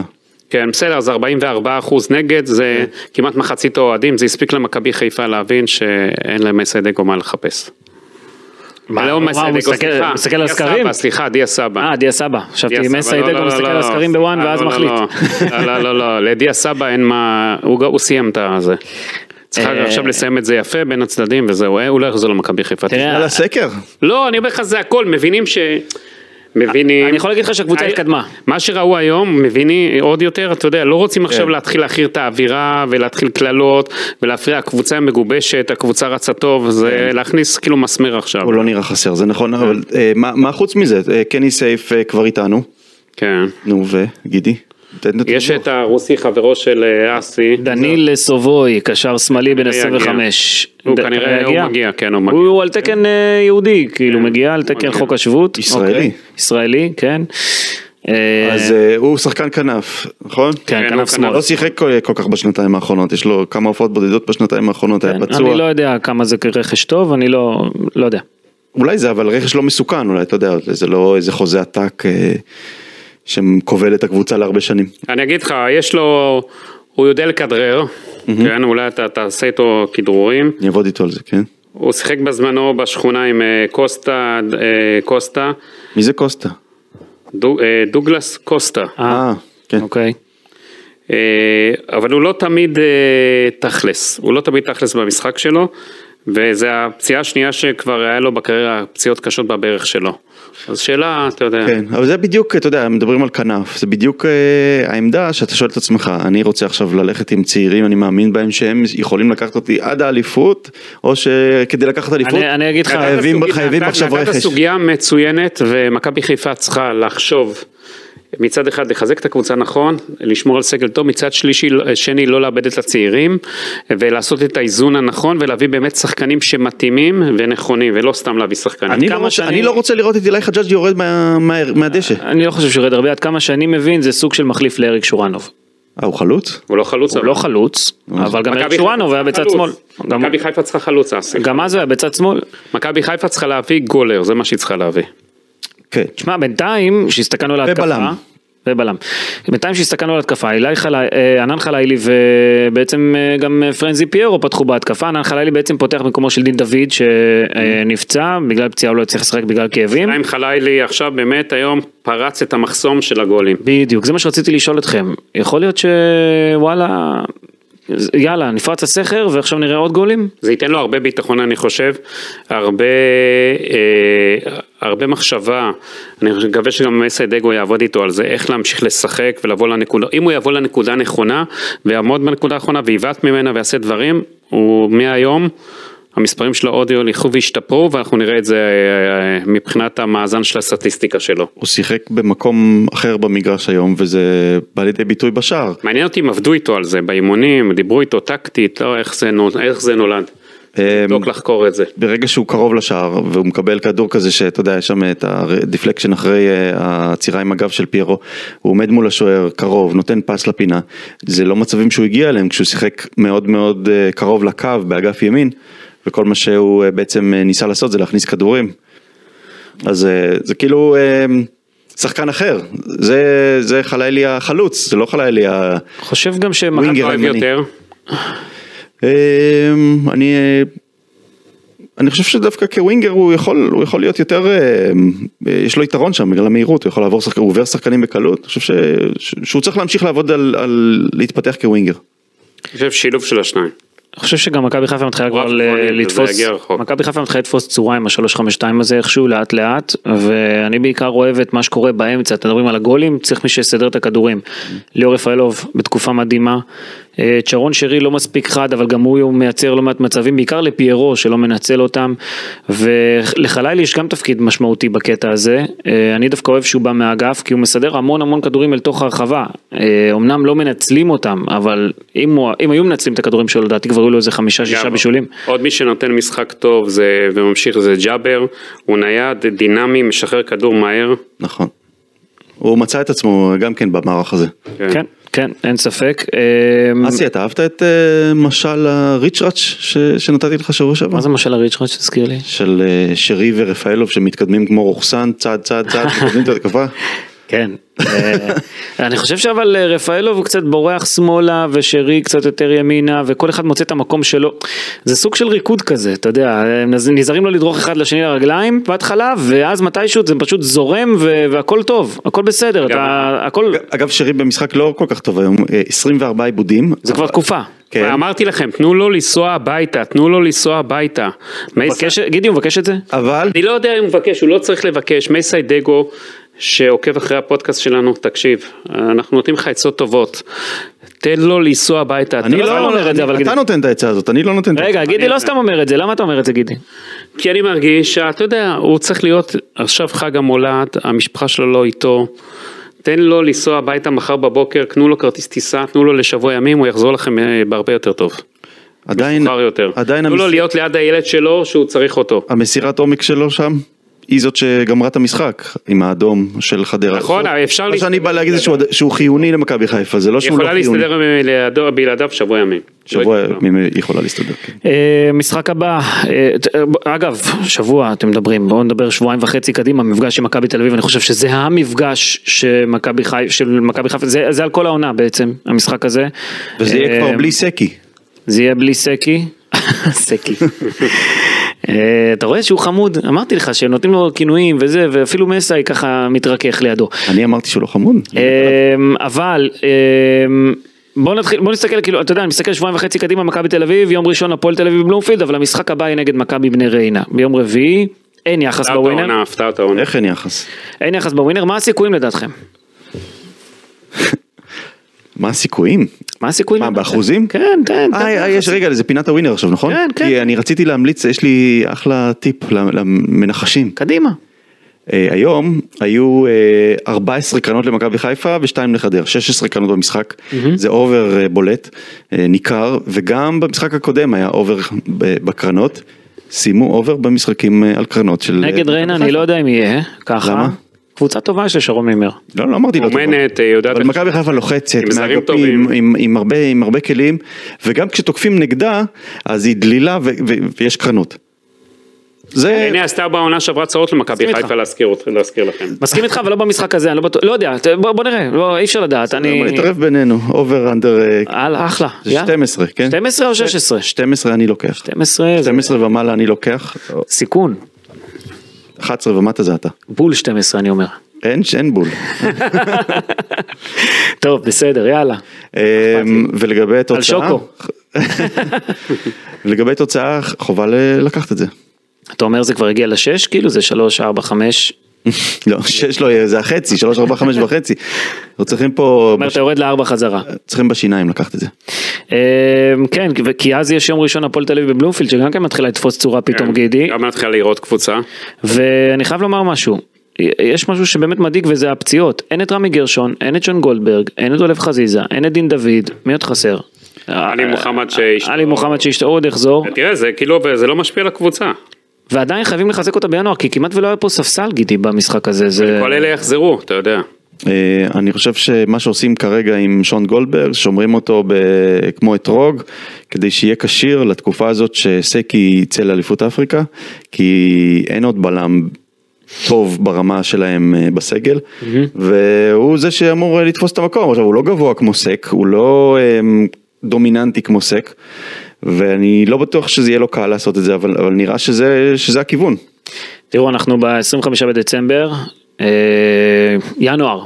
כן, בסדר, אז 44 אחוז נגד, זה כמעט מחצית האוהדים, זה הספיק למכבי חיפה להבין שאין להם מסי דגו מה לחפש. מה, לא הוא מסי דגו, מסתכל- סליחה, הוא מסתכל על דיה הסקרים? סבא, סליחה, דיה סבא. אה, דיה סבא, חשבתי דיה סבא, מסי לא, דגו לא, לא, מסתכל לא, על לא. הסקרים בוואן אה, ואז לא, לא, מחליט. לא, לא, לא, לא, לדיה סבא אין מה, הוא ג- הוא סיים את הזה. צריך אה. עכשיו לסיים את זה יפה בין הצדדים וזהו, אה, הוא לא יחזור למכבי חיפה. תראה, על הסקר? לא, אני אומר לך זה הכל, מבינים ש... מבינים... אני יכול להגיד לך שהקבוצה הי- התקדמה. מה שראו היום, מביני עוד יותר, אתה יודע, לא רוצים עכשיו להתחיל להכיר את האווירה ולהתחיל קללות ולהפריע, הקבוצה המגובשת, הקבוצה רצה טוב, זה להכניס כאילו מסמר עכשיו. הוא לא נראה חסר, זה נכון, אבל אה, מה מה חוץ מזה? אה, קני סייף אה, כבר איתנו. כן. נו וגידי. תן את יש הדיווח. את הרוסי, חברו של אה, אסי. דניל סובוי, קשר שמאלי בן יגיע. 25. הוא ד- כנראה- הוא מגיע, כן, הוא מגיע. כן, הוא על תקן אה, יהודי, כאילו מגיע על תקן מגיע. חוק השבות. ישראלי. אוקיי. ישראלי, כן. אה, אז אה, הוא שחקן כנף, נכון? כן, הוא כנף כנף. שמאל. לא שיחק כל כל כך בשנתיים האחרונות, יש לו כמה הופעות בודדות בשנתיים האחרונות, היה כן, פצוע. אני לא יודע כמה זה רכש טוב, אני לא לא יודע. אולי זה אבל רכש לא מסוכן, אולי אתה יודע, זה לא איזה חוזה עתק. אה, שכובל את הקבוצה להרבה שנים. אני אגיד לך, יש לו, הוא יודע לכדרר, כן, אולי אתה תעשה איתו כדרורים. אני אעבוד איתו על זה, כן? הוא שיחק בזמנו בשכונה עם אה, קוסטה, אה, קוסטה, מי זה קוסטה? דו- אה, דוגלס קוסטה, אה, כן. אוקיי. אה, אבל הוא לא תמיד אה, תכלס, הוא לא תמיד תכלס במשחק שלו, וזו הפציעה השנייה שכבר היה לו בקריירה, פציעות קשות בברך שלו. אז שאלה, אתה יודע, כן, אבל זה בדיוק, אתה יודע, מדברים על כנף, זה בדיוק אה, העמדה שאתה שואל את עצמך, אני רוצה עכשיו ללכת עם צעירים, אני מאמין בהם שהם יכולים לקחת אותי עד האליפות, או שכדי לקחת אליפות, אני- אני אגיד לך- חייבים, נתת- חייבים נתת עכשיו רכש. סוגיה מצוינת ומכבי חיפה צריכה לחשוב מצד אחד לחזק את הקבוצה נכון, לשמור על סגל טוב, מצד שלישי, שני לא לאבד את הצעירים ולעשות את האיזון הנכון ולהביא באמת שחקנים שמתאימים ונכונים ולא סתם להביא שחקנים. אני לא, כמה רוצה, שאני- אני לא רוצה לראות את אילי חג'אג' יורד מה, מה, מהדשא. אני לא חושב שהוא יורד הרבה, עד כמה שאני מבין זה סוג של מחליף לאריק שורנוב. אה, הוא חלוץ? הוא לא חלוץ, הוא אבל- לא חלוץ, אבל גם אריק מכבי שורנוב חיפה היה בצד חלוץ. שמאל. גם- מכבי חיפה צריכה חלוץ אסי. גם אז הוא היה בצד שמאל. מכבי חיפה צריכה להביא גולר, זה מה שהיא צריכה להביא. כן. תשמע, בינתיים, שהסתכלנו על ההתקפה... ובלם. ובלם. בינתיים שהסתכלנו על התקפה, אילי חלי- אה, ענן חלילי ובעצם אה, גם אה, פרנזי פיירו פתחו בהתקפה, ענן חלילי בעצם פותח במקומו של דין דוד שנפצע, בגלל פציעה הוא לא הצליח לשחק בגלל כאבים. חיים חלילי עכשיו באמת היום פרץ את המחסום של הגולים. בדיוק, זה מה שרציתי לשאול אתכם. יכול להיות שוואלה, יאללה, נפרץ הסכר ועכשיו נראה עוד גולים? זה ייתן לו הרבה ביטחון אני חושב, הרבה, אה, הרבה מחשבה, אני חושב- מקווה שגם סיידגו יעבוד איתו על זה, איך להמשיך לשחק ולבוא לנקודה, אם הוא יבוא לנקודה הנכונה ויעמוד בנקודה האחרונה ויבעט ממנה ויעשה דברים, הוא מהיום, המספרים של האודיו ילכו וישתפרו ואנחנו נראה את זה אה, מבחינת המאזן של הסטטיסטיקה שלו. הוא שיחק במקום אחר במגרש היום, וזה בא לידי ביטוי בשער. מעניין אותי אם עבדו איתו על זה באימונים, דיברו איתו טקטית, לא איך זה, נול- איך זה נולד, אה, לבדוק לחקור את זה. ברגע שהוא קרוב לשער והוא מקבל כדור כזה שאתה יודע יש שם את הדיפלקשן אחרי אה, העצירה עם הגב של פיירו הוא עומד מול השוער קרוב נותן פס לפינה זה לא מצבים שהוא הגיע אליהם כשהוא שיחק מאוד מאוד אה, קרוב לקו באגף ימין וכל מה שהוא אה, בעצם אה, ניסה לעשות זה להכניס כדורים אז אה, זה כאילו אה, שחקן אחר זה זה חלילי החלוץ זה לא חלילי ה... חושב גם שמכבי... ווינגר. אתה לא אוהב גרמני. יותר? אמ, אני אה, אני חושב שדווקא כווינגר הוא יכול הוא יכול להיות יותר אמ, אה, יש לו יתרון שם בגלל המהירות הוא יכול לעבור שחק- הוא עובר שחקנים בקלות אני חושב ש, ש, שהוא צריך להמשיך לעבוד על, על להתפתח כווינגר. אני חושב שילוב של השניים. אני חושב שגם מכבי חיפה מתחילה כבר רב ל- גבוהים, וזה לתפוס, לא יגיע רחוק. מכבי חיפה מתחילה לתפוס צורה עם ה-352 הזה איכשהו לאט לאט, ואני בעיקר אוהב את מה שקורה באמצע, אתם מדברים על הגולים, צריך מי שיסדר את הכדורים. ליאור רפאלוב בתקופה מדהימה, אה, צ'רון שרי לא מספיק חד, אבל גם הוא מייצר לא מעט מצבים, בעיקר לפיירו שלא מנצל אותם, ולחלילי יש גם תפקיד משמעותי בקטע הזה, אה, אני דווקא אוהב שהוא בא מהאגף, כי הוא מסדר המון המון כדורים אל תוך הרחבה, אה, אמנם לא מנצלים אותם, אבל אם, הוא, אם היו מנצלים את הכדורים שלו, לדעתי כבר היו לו איזה חמישה שישה גם. בישולים. עוד מי שנותן משחק טוב זה, וממשיך זה ג'אבר, הוא נייד, דינמי, משחרר כדור מהר. נכון. הוא מצא את עצמו גם כן במערך הזה. כן, כן, אין ספק. אה, אסי אתה אהבת את אה, משל הריצ'ראץ' ש- שנתתי לך שבוע שעבר? מה זה משל הריצ'רד שהזכיר לי? של אה, שרי ורפאלוב שמתקדמים כמו רוכסן צעד צעד <laughs> צעד מקדמים את התקפה. כן. אה, אני חושב שאבל אה, רפאלוב הוא קצת בורח שמאלה ושרי קצת יותר ימינה וכל אחד מוצא את המקום שלו. זה סוג של ריקוד כזה, אתה יודע, הם נז- נזהרים לא לדרוך אחד לשני לרגליים בהתחלה ואז מתישהו זה פשוט זורם ו- והכל טוב, הכל בסדר, אתה, הכל, אגב שרי במשחק לא כל כך טוב היום אה, 24 עיבודים. זה כבר תקופה. כן. אמרתי לכם, תנו לו לנסוע הביתה, תנו לו לנסוע הביתה. מייסי- מבקש- גידי הוא מבקש את זה? אבל אני לא יודע אם הוא מבקש, הוא לא צריך לבקש. מייסי דגו, שעוקב אחרי הפודקאסט שלנו, תקשיב, אנחנו נותנים לך עצות טובות. תן לו לנסוע הביתה. אתה אני לא לא אומר אומר את זה, אבל אתה גידי. נותן את העצה הזאת, אני לא נותן את העצה. רגע, גידי לא סתם אומר את זה, למה אתה אומר את זה גידי? כי אני מרגיש שאתה יודע, הוא צריך להיות עכשיו חג המולד, המשפחה שלו לא איתו. תן לו לנסוע הביתה מחר בבוקר, קנו לו כרטיס טיסה, תנו לו לשבוע ימים, הוא יחזור לכם אה, בהרבה יותר טוב. עדיין, מאוחר יותר. עדיין לא תנו לו המס... להיות ליד הילד שלו שהוא צריך אותו. המסירת עומק שלו שם, היא זאת שגמרה את המשחק עם האדום של חדרה. נכון, לא אפשר לא להסתדר שאני בא להגיד שהוא- שהוא חיוני למכבי חיפה, זה לא היא שהוא לא יכולה חיוני. להסתדר בלעדו- בלעדיו שבוע ימים. שבוע לא יקרה כלום. ימים היא יכולה להסתדר. כן. אה, משחק הבא, אה, ת- אה, אגב, שבוע אתם מדברים, בואו נדבר שבועיים וחצי קדימה, מפגש עם מכבי תל אביב, אני חושב שזה המפגש שמכבי חי- של מכבי חיפה, זה זה על כל העונה בעצם, המשחק הזה. וזה יהיה אה, כבר בלי סקי. זה יהיה בלי סקי. <laughs> סקי. אה, אתה רואה שהוא חמוד, אמרתי לך שהם נותנים לו כינויים וזה, ואפילו מסאי ככה מתרכך לידו. אני אמרתי שהוא לא חמוד. אמ, אבל אמ, בוא נתחיל, בוא נסתכל כאילו, אתה יודע, אני מסתכל שבועיים וחצי קדימה, מכבי תל אביב, יום ראשון הפועל תל אביב בלומפילד, אבל המשחק הבא היא נגד מכבי בני ריינה. ביום רביעי, אין יחס הפתעת בווינר, העונה, הפתעת העונה. איך אין יחס? אין יחס בווינר, מה הסיכויים לדעתכם? מה הסיכויים? מה הסיכויים? מה, לדעתכם? באחוזים? כן, כן. אה, אה, יש, רגע, זה פינת הווינר עכשיו, נכון? כן, כן. כי אני רציתי להמליץ, יש לי אחלה טיפ למ- למנחשים. קדימה. אה, היום היו אה, 14 קרנות למכבי חיפה ושתיים לחדרה, 16 קרנות במשחק, זה אובר אה, בולט, אה, ניכר, וגם במשחק הקודם היה אובר ב- בקרנות, סיימו אובר במשחקים אה, על קרנות של... אה, נגד מכבי ריינה, חיפה. אני לא יודע אם יהיה, ככה. למה? קבוצה טובה של שרון מימר. לא, לא אמרתי לא טובה. אומנת, אה, יודעת אבל איך- מכבי חיפה לוחצת, עם זרים מהאגפים, טובים. עם, עם, הרבה, עם הרבה כלים, וגם כשתוקפים נגדה, אז היא דלילה ו, ו, ויש קרנות. זה... הנה עשתה בעונה שעברה צרות למכבי מסכים איתך. חיפה להזכיר אותך- להזכיר לכם. מסכים איתך, אבל לא במשחק הזה, אני לא בטוח, לא יודע, ת- בוא בוא נראה, לא, אי אפשר לדעת, אני... אני... נתערב בינינו, אובר, אנדר, אה, על אחלה. זה יאללה. 12, כן? 12 או 16? 12 אני לוקח. 12 זה 12 ומעלה אני לוקח, סיכון. 11 ומטה זה אתה. בול 12 <laughs> אני אומר. אין, אין בול. טוב בסדר יאללה. אמ, ולגבי התוצאה... <laughs> שוקו. לגבי התוצאה, חובה ל- לקחת את זה. <laughs> אתה אומר זה כבר הגיע לשש כאילו זה שלוש ארבע חמש. אתה לא, שיש לו, זה החצי, 3, 4, 5 וחצי. אנחנו צריכים פה, אומר אתה יורד לארבע חזרה. צריכים בשיניים לקחת את זה. אמ, כן כי- כי אז יש יום ראשון הפועל תל אביב בבלומפילד שגם כן מתחילה לתפוס צורה פתאום גידי. גם מתחילה לראות קבוצה. ואני חייב לומר משהו. יש משהו שבאמת מדאיג וזה הפציעות. אין את רמי גרשון, אין את שון גולדברג, אין את אולף חזיזה, אין את דין דוד, מי עוד חסר? אה, עלי מוחמד שאשתו- עלי מוחמד שאשתו עוד יחזור, תראה, זה כאילו, זה לא משפיע על הקבוצה. ועדיין חייבים לחזק אותה בינואר, כי כמעט ולא היה פה ספסל גידי במשחק הזה. זה- כל אלה יחזרו, אתה יודע. אה, אני חושב שמה שעושים כרגע עם שון גולדברג, שומרים אותו ב... כמו אתרוג, כדי שיהיה כשיר לתקופה הזאת שסקי יצא לאליפות אפריקה, כי אין עוד בלם טוב ברמה שלהם אה, בסגל, והוא זה שאמור אה, לתפוס את המקום. עכשיו, הוא לא גבוה כמו סק, הוא לא אה, דומיננטי כמו סק, ואני לא בטוח שזה יהיה לו קל לעשות את זה, אבל, אבל נראה שזה, שזה הכיוון. תראו, אנחנו ב-25 בדצמבר, אה, ינואר.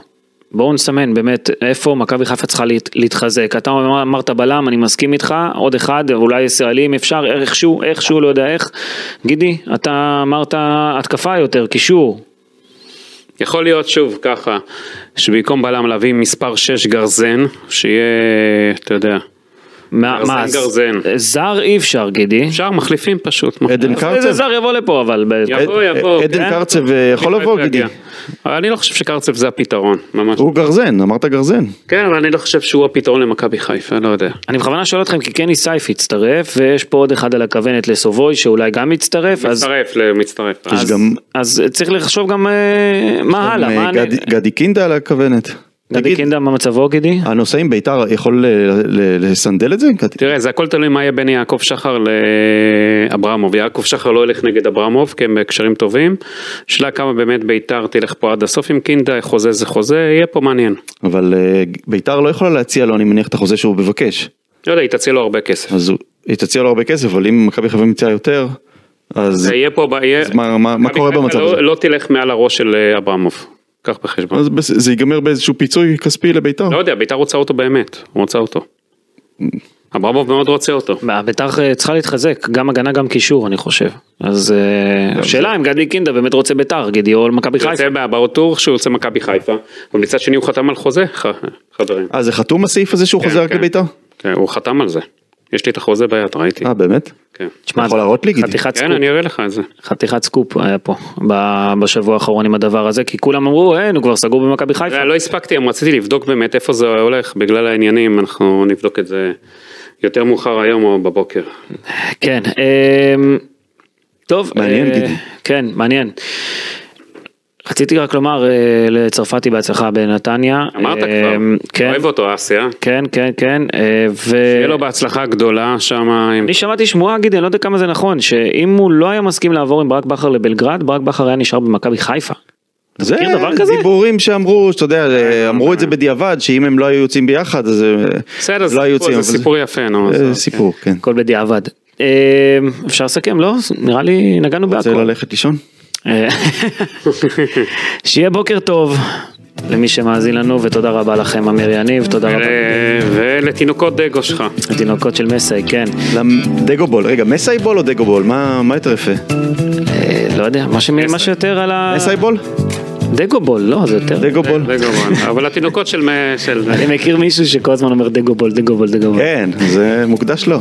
בואו נסמן באמת איפה מכבי חיפה צריכה להת, להתחזק. אתה אמר- אמרת בלם, אני מסכים איתך, עוד אחד, אולי ישראלי אם אפשר, איכשהו, איכשהו, לא יודע איך. גידי, אתה אמרת התקפה יותר, קישור. יכול להיות שוב ככה, שבמקום בלם להביא מספר 6 גרזן, שיהיה, אתה יודע. מה, גרזן, מה, אז- גרזן. זר אי אפשר, גידי. אפשר מחליפים פשוט. עדן איזה קרצב, זר יבוא לפה אבל. ב- יבוא, יבוא. עדן כן. קרצב אה, יכול לבוא, גידי. יגיע. אבל אני לא חושב שקרצב זה הפתרון, ממש. הוא גרזן, אמרת גרזן. כן, אבל אני לא חושב שהוא הפתרון למכבי חיפה, לא יודע. אני בכוונה שואל אתכם כי קני סייף יצטרף ויש פה עוד אחד על הכוונת לסובוי שאולי גם יצטרף. אז מצטרף, ל- מצטרף. יש אז, גם- אז צריך לחשוב גם אה, מה הלאה, מה גם, אה, גדי- גדי קינדה על הכוונת. גדי תגיד, קינדה מה מצבו גידי? הנושא עם ביתר יכול ל- ל- לסנדל את זה? גדי? תראה, זה הכל תלוי מה יהיה בין יעקב שחר לאברמוב. יעקב שחר לא ילך נגד אברמוב, כי הם בקשרים טובים. שאלה כמה באמת ביתר תלך פה עד הסוף עם קינדה, חוזה זה חוזה, יהיה פה מעניין. אבל אה, ביתר לא יכולה להציע לו, אני מניח, את החוזה שהוא מבקש. לא יודע, היא תציע לו הרבה כסף. אז הוא- היא תציע לו הרבה כסף, אבל אם מכבי חיפה מציעה יותר, אז זה יהיה פה, ב- יהיה... אז מה- מה- מה מכבי קורה חיפה במצב לא- הזה? לא תלך מעל הראש של אה, אברמוב. קח בחשבון. אז בס- זה ייגמר באיזשהו פיצוי כספי לביתר. לא יודע, ביתר רוצה אותו באמת, הוא רוצה אותו. אברמוב מאוד רוצה אותו. מה, ביתר אה, צריכה להתחזק, גם הגנה גם קישור אני חושב. אז אה, השאלה אם גדי קינדה באמת רוצה ביתר גידי או מכבי הוא חיפה. יוצא באברטור שהוא יוצא מכבי חיפה, אבל מצד שני הוא חתם על חוזה, ח- חברים. אה, זה חתום הסעיף הזה שהוא כן, חוזר רק כן. לביתר? כן, הוא חתם על זה. יש לי את החוזה ביד, ראיתי. אה, באמת? כן. תשמע, יכול להראות לי, גידי? חתיכת כן, סקופ, אני אראה לך את זה. חתיכת סקופ היה פה ב- בשבוע האחרון עם הדבר הזה כי כולם אמרו אין הוא כבר סגור במכבי חיפה. לא הספקתי, גם רציתי לבדוק באמת איפה זה הולך, בגלל העניינים, אנחנו נבדוק את זה יותר מאוחר היום או בבוקר. כן. אמ, טוב. מעניין, אה, גידי. כן, מעניין. רציתי רק לומר אה, לצרפתי בעצמך בנתניה. אמרת אה, כבר, כן, אוהב אותו אסיה. כן, כן, כן, אה, ו... שיהיה לו בהצלחה גדולה שם. עם- אני שמעתי שמועה, גידי, אני לא יודע כמה זה נכון, שאם הוא לא היה מסכים לעבור עם ברק בכר לבלגרד, ברק בכר היה נשאר במכבי חיפה. זה מכיר דבר כזה? דיבורים שאמרו, שאתה יודע, אה, אמרו את זה בדיעבד, שאם הם לא היו יוצאים ביחד, אז אה, בסדר, זה לא היו סיפור- יוצאים. זה אבל סיפור יפה, נו. זה עזוב, כן. סיפור, כן. הכל בדיעבד. אה, אפשר לסכם, לא? נראה לי נגענו רוצה בהכל. ללכת לישון? אה, שיהיה בוקר טוב למי שמאזין לנו, ותודה רבה לכם, אמיר יניב, תודה רבה ל- אוקיי. ולתינוקות דגו שלך. לתינוקות של מסי, כן. למ- דגו בול, רגע, מסאי בול או דגו בול? מה מה יותר יפה? אה, לא יודע, מה שמ- מה שיותר על ה... מסאי בול? דגו בול, לא, זה יותר. דגו בול. דגו, בוא. אבל התינוקות של... מ- של- אני מכיר מישהו שכל הזמן אומר דגו בול, דגו בול, דגו בול. כן, זה מוקדש לו.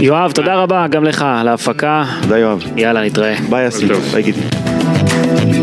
יואב, תודה רבה גם לך על ההפקה. תודה יואב. יאללה, נתראה. ביי יסמין, טוב. ביי גידי.